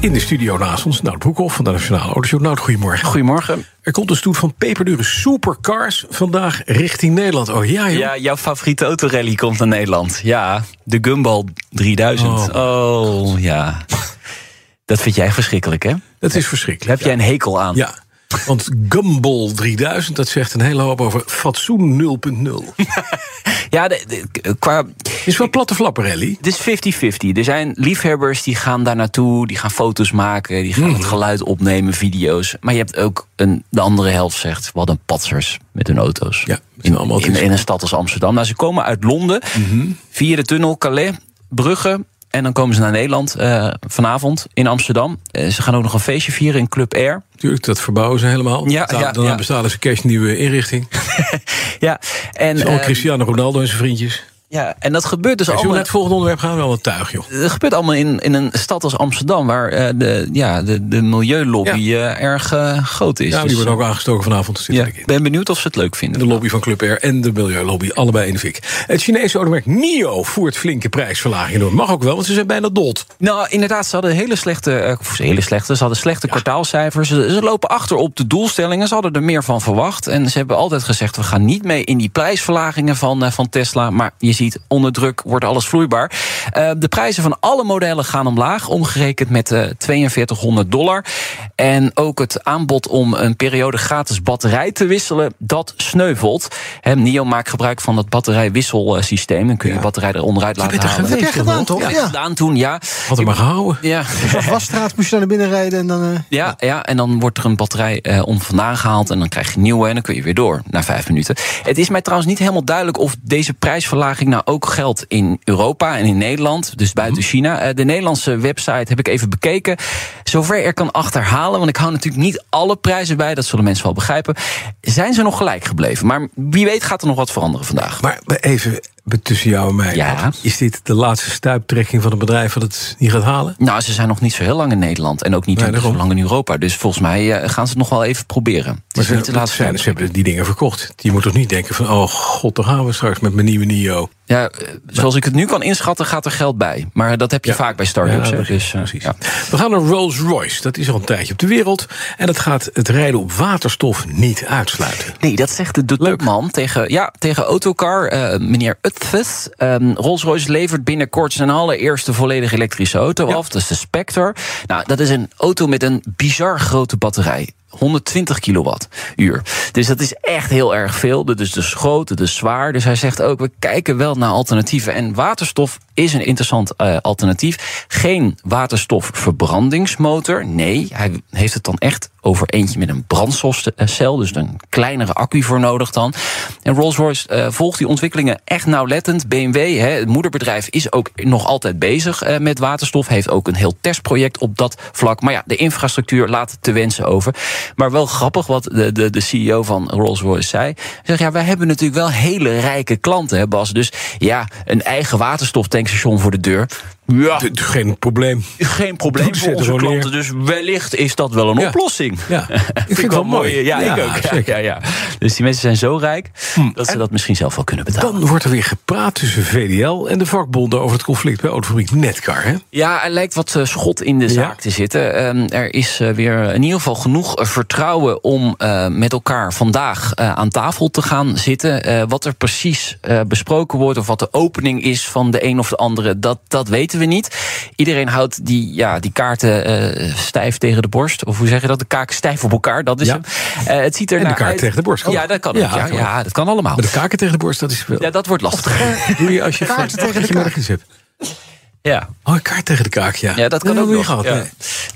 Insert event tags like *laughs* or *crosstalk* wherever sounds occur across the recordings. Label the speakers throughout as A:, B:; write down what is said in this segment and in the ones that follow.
A: in de studio naast ons Nout Broekhoff van de Nationale Autoshow. Nout, goedemorgen.
B: Goedemorgen.
A: Er komt een stoet van peperdure supercars vandaag richting Nederland. Oh ja, joh.
B: Ja, jouw favoriete autorally komt naar Nederland. Ja, de Gumball 3000. Oh, ja. Dat vind jij verschrikkelijk, hè? Daar
A: Dat is verschrikkelijk.
B: heb jij een hekel aan.
A: Ja, want Gumball 3000, dat zegt een hele hoop over fatsoen
B: *laughs*
A: 0.0.
B: Ja, de- de- qua,
A: Is wel platte flappen, Ellie.
B: het is 50-50. Er zijn liefhebbers die gaan daar naartoe, die gaan foto's maken, die gaan het geluid opnemen, video's. Maar je hebt ook een, de andere helft zegt, wat een patsers met hun auto's. Mhm.
A: Ja, dat zijn
B: in,
A: allemaal
B: in, in een stad als Amsterdam. Nou, ze komen uit Londen, via de tunnel Calais, Brugge. En dan komen ze naar Nederland eh, vanavond in Amsterdam. Eh, ze gaan ook nog een feestje vieren in Club *laughs* Air.
A: Natuurlijk, dat verbouwen ze helemaal.
B: Ja,
A: Daar-
B: ja,
A: daarna
B: ja.
A: bestalen ze cash nieuwe inrichting. Zo
B: Ja, en,
A: al
B: eh,
A: Cristiano Ronaldo en zijn vriendjes.
B: ja, en dat gebeurt dus
A: Zullen we
B: allemaal...
A: naar het volgende onderwerp gaan? Wel wat tuig, joh.
B: Het Eh, gebeurt allemaal in, in een stad als Amsterdam, waar eh, de, ja, de, de milieulobby eh, erg eh, groot is.
A: Nou, die
B: Dus,
A: wordt ook aangestoken vanavond. Zit
B: ja,
A: er ik
B: ik
A: in.
B: ben benieuwd of ze het leuk vinden.
A: De lobby van Club Air en de milieulobby, allebei in de fik. Het Chinese automerk NIO voert flinke prijsverlagingen door. Mag ook wel, want ze zijn bijna dood.
B: Nou, inderdaad, ze hadden hele slechte, eh, of hele slechte, ze hadden slechte kwartaalcijfers. Ze, ze lopen achter op de doelstellingen. Ze hadden er meer van verwacht. En ze hebben altijd gezegd: we gaan niet mee in die prijsverlagingen van, eh, van Tesla. Maar je ziet, onder druk wordt alles vloeibaar. Eh, de prijzen van alle modellen gaan omlaag, omgerekend met eh 4200 dollar. En ook het aanbod om een periode gratis batterij te wisselen, dat sneuvelt. Hè, NIO maakt gebruik van dat batterijwisselsysteem. Dan kun je je batterij er onderuit laten
A: bent er
C: Dat
B: halen.
C: heb
A: geweest,
C: jij gedaan, toch?
B: Ja,
C: Ja.
B: gedaan toen, ja.
A: Had er maar gehouden.
B: Ja,
C: Op wasstraat moest je naar binnen rijden en dan... eh,
B: ja, ja, en dan wordt er een batterij eh, om vandaan gehaald. En dan krijg je een nieuwe en dan kun je weer door na vijf minuten. Het is mij trouwens niet helemaal duidelijk of deze prijsverlaging nou ook geldt in Europa en in Nederland. Dus buiten China. Eh, de Nederlandse website heb ik even bekeken. Zover er kan achterhalen, want ik hou natuurlijk niet alle prijzen bij. Dat zullen mensen wel begrijpen. Zijn ze nog gelijk gebleven? Maar wie weet gaat er nog wat veranderen vandaag.
A: Maar even tussen jou en mij.
B: Ja.
A: Is dit de laatste stuiptrekking van een bedrijf dat het niet gaat halen?
B: Nou, ze zijn nog niet zo heel lang in Nederland. En ook niet
A: Nee,
B: zo
A: daarom.
B: lang in Europa. Dus volgens mij eh, gaan ze het nog wel even proberen. Het
A: Maar
B: is
A: ze,
B: niet de laatste
A: zijn, ze hebben die dingen verkocht. Je moet toch niet denken van, oh god, daar gaan we straks met mijn nieuwe NIO.
B: Ja, eh, zoals ik het nu kan inschatten, gaat er geld bij. Maar dat heb je vaak bij
A: Ja,
B: start-ups. hè.
A: precies,
B: dus, eh,
A: precies.
B: ja.
A: We gaan naar Rolls Royce. Dat is al een tijdje op de wereld. En dat gaat het rijden op waterstof niet uitsluiten.
B: Nee, dat zegt de, de topman tegen, ja, tegen Autocar, eh, meneer Utfes. Ehm, Rolls-Royce levert binnenkort zijn allereerste volledig elektrische auto af. Dat is de Spectre. Nou, dat is een auto met een bizar grote batterij. 120 kilowattuur. Dus dat is echt heel erg veel. Dus het is groot, het is zwaar. Dus hij zegt ook, we kijken wel naar alternatieven. En waterstof is een interessant eh, alternatief. Geen waterstofverbrandingsmotor. Nee, hij heeft het dan echt over eentje met een brandstofcel. Dus een kleinere accu voor nodig dan. En Rolls-Royce eh, volgt die ontwikkelingen echt nauwlettend. BMW, hè, het moederbedrijf, is ook nog altijd bezig eh, met waterstof. Heeft ook een heel testproject op dat vlak. Maar ja, de infrastructuur laat te wensen over. Maar wel grappig wat de, de, de CEO van Rolls-Royce zei. Hij zegt, ja, wij hebben natuurlijk wel hele rijke klanten, hè Bas. Dus ja, een eigen waterstoftankstation voor de deur. Ja,
A: D- d- Geen probleem.
B: geen probleem
A: Doe ze
B: voor onze
A: er wel neer.
B: klanten. Dus wellicht is dat wel een
A: Ja.
B: oplossing. *laughs*
A: Ja, ik vind het wel mooi.
B: Ja, ik ook. Ja,
A: zeker. Hm.
B: ja, ja. Dus die mensen zijn zo rijk dat ze dat misschien zelf wel kunnen betalen.
A: Dan wordt er weer gepraat tussen VDL en de vakbonden over het conflict bij autofabriek Netcar. Hè?
B: Ja, er lijkt wat eh, schot in de zaak te zitten. Ehm, er is eh, weer in ieder geval genoeg eh, vertrouwen om eh, met elkaar vandaag eh, aan tafel te gaan zitten. Eh, wat er precies eh, besproken wordt of wat de opening is van de een of de andere, dat, dat weten we niet. Iedereen houdt die, ja, die kaarten eh, stijf tegen de borst. Of hoe zeg je dat? De kaak stijf op elkaar, dat is
A: Ja.
B: hem. Eh, het ziet er
A: En de
B: naar
A: kaart
B: uit-
A: tegen de borst, kan
B: Ja,
A: ook.
B: dat kan
A: Ja,
B: ook, ja,
A: kan ook.
B: ja, dat kan allemaal.
A: Maar de kaken tegen de borst, dat is wel...
B: Ja, dat wordt lastig.
A: doe je als je
C: Kaarten tegen de
A: gemerkt hebt.
B: Ja.
A: Oh, een kaart tegen de kaak, ja.
B: Ja, dat kan
A: Nee,
B: ook
A: niet
B: nog.
A: gehad,
B: Ja.
A: nee.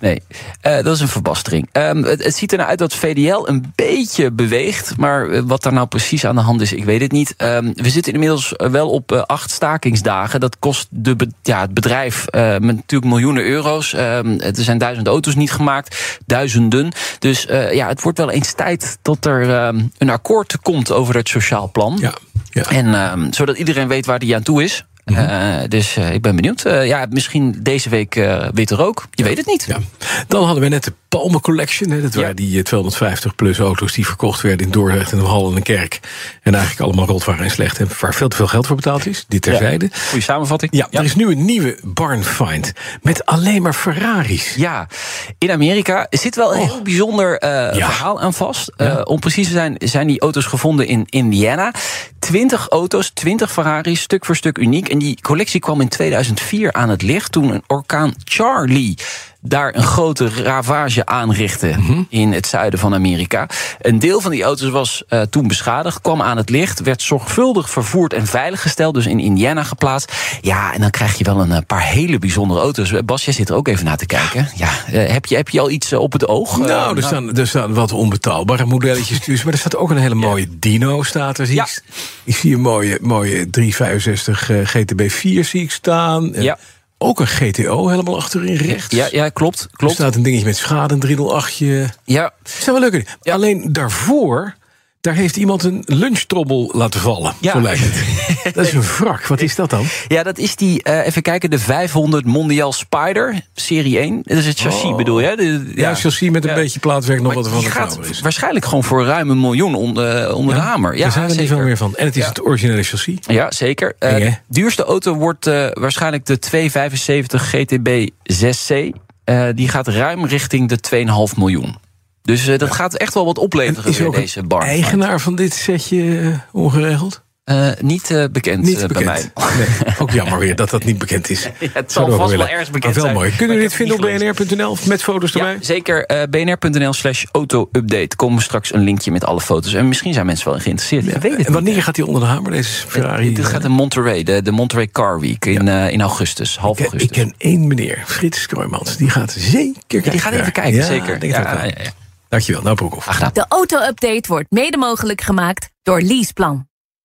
B: Nee, Eh, dat is een verbastering. Ehm, het, het ziet er nou uit dat VDL een beetje beweegt. Maar eh, wat daar nou precies aan de hand is, ik weet het niet. Ehm, we zitten inmiddels eh, wel op eh, acht stakingsdagen. Dat kost de be- ja, het bedrijf eh, met natuurlijk miljoenen euro's. Ehm, er zijn duizend auto's niet gemaakt. Duizenden. Dus eh, ja, het wordt wel eens tijd dat er ehm, een akkoord komt over het sociaal plan.
A: Ja, ja.
B: En ehm, zodat iedereen weet waar die aan toe is.
A: Mhm.
B: Eh, dus eh, ik ben benieuwd. Eh, ja, misschien deze week eh witte rook. Je weet het niet.
A: Ja. Dan hadden we net de Palme Collection. Hè. Dat waren
B: Ja.
A: die eh, 250 plus auto's die verkocht werden in Dordrecht en Hal en een kerk. En eigenlijk allemaal rot waren en slecht. En waar veel te veel geld voor betaald is. Dit terzijde. Ja,
B: Goeie samenvatting.
A: er is nu een nieuwe barn find. Met alleen maar Ferraris.
B: Ja, in Amerika zit wel een heel bijzonder eh,
A: Oh. Ja.
B: verhaal aan vast. Eh, om precies te zijn, zijn die auto's gevonden in Indiana. Twintig auto's, twintig Ferraris, stuk voor stuk uniek. En die collectie kwam in 2004 aan het licht toen een orkaan Charlie daar een grote ravage aanrichtte
A: Mhm.
B: in het zuiden van Amerika. Een deel van die auto's was eh, toen beschadigd, kwam aan het licht, werd zorgvuldig vervoerd en veiliggesteld, dus in Indiana geplaatst. Ja, en dan krijg je wel een eh, paar hele bijzondere auto's. Eh, Bas, jij zit er ook even naar te kijken. Ja, eh, heb, je, heb je al iets eh, op het oog? Eh,
A: Nou, er staan, er staan wat onbetaalbare modelletjes tussen. Maar er staat ook een hele mooie dino staat er. Zie
B: Ja.
A: ik, ik zie een mooie, mooie 365 eh, GTB 4 zie ik staan. En
B: Ja.
A: Ook een GTO helemaal achterin rechts.
B: ja, ja, klopt,
A: Er
B: klopt.
A: staat een dingetje met schade, een 308je.
B: Ja,
A: Dat zijn wel leuke dingen. Alleen daarvoor, daar heeft iemand een lunchtrommel laten vallen.
B: Ja.
A: Zo lijkt
B: *laughs*
A: het. Dat is een wrak. Wat is dat dan?
B: ja, dat is die, eh, even kijken, de 500 Mondial Spider, serie 1. Dat is het chassis, bedoel je? hè? De-
A: Oh. Ja, ik zal zien met een
B: Ja.
A: beetje plaatwerk nog
B: Maar
A: wat er van
B: die
A: de
B: gaat
A: kamer is.
B: waarschijnlijk gewoon voor ruim een miljoen onder, onder de hamer. Ja,
A: Daar zijn er niet
B: zeker.
A: veel meer van. En het is het originele chassis.
B: Ja, zeker. Eh,
A: Eng, hè?
B: duurste auto wordt eh, waarschijnlijk de 275 GTB 6C. Eh, die gaat ruim richting de 2,5 miljoen. Dus eh, dat gaat echt wel wat opleveren
A: En is er
B: weer,
A: ook een
B: deze bar.
A: Eigenaar van dit setje eh, ongeregeld?
B: Eh, niet eh, bekend
A: Niet
B: eh, bij mij.
A: bekend. *laughs* Nee, ook jammer weer dat dat niet bekend
B: *laughs*
A: is.
B: het zal
A: Zouden we
B: vast
A: ook
B: wel
A: willen.
B: ergens
A: Maar
B: bekend
A: wel
B: zijn.
A: mooi. Kunnen
B: Maar
A: we
B: ik
A: dit
B: heb
A: vinden op
B: het niet
A: bnr.nl met foto's
B: Ja,
A: erbij?
B: zeker. eh, bnr.nl slash auto-update. Komen straks een linkje met alle foto's. En misschien zijn mensen wel geïnteresseerd. Ik weet het
A: En
B: niet.
A: wanneer gaat hij onder de hamer, deze Ferrari?
B: Dit gaat in Monterey, de, de Monterey Car Week in, eh, in augustus, half
A: Ik,
B: augustus.
A: ik ken één meneer, Frits Kooijmans. Die gaat zeker kijken.
B: die gaat even
A: daar.
B: kijken,
A: Ja,
B: zeker.
A: Denk het
B: Ja,
A: ook wel.
B: ja, ja.
A: Dankjewel, nou Broekhoff.
B: Graag gedaan.
D: De auto-update wordt mede mogelijk gemaakt door Leaseplan.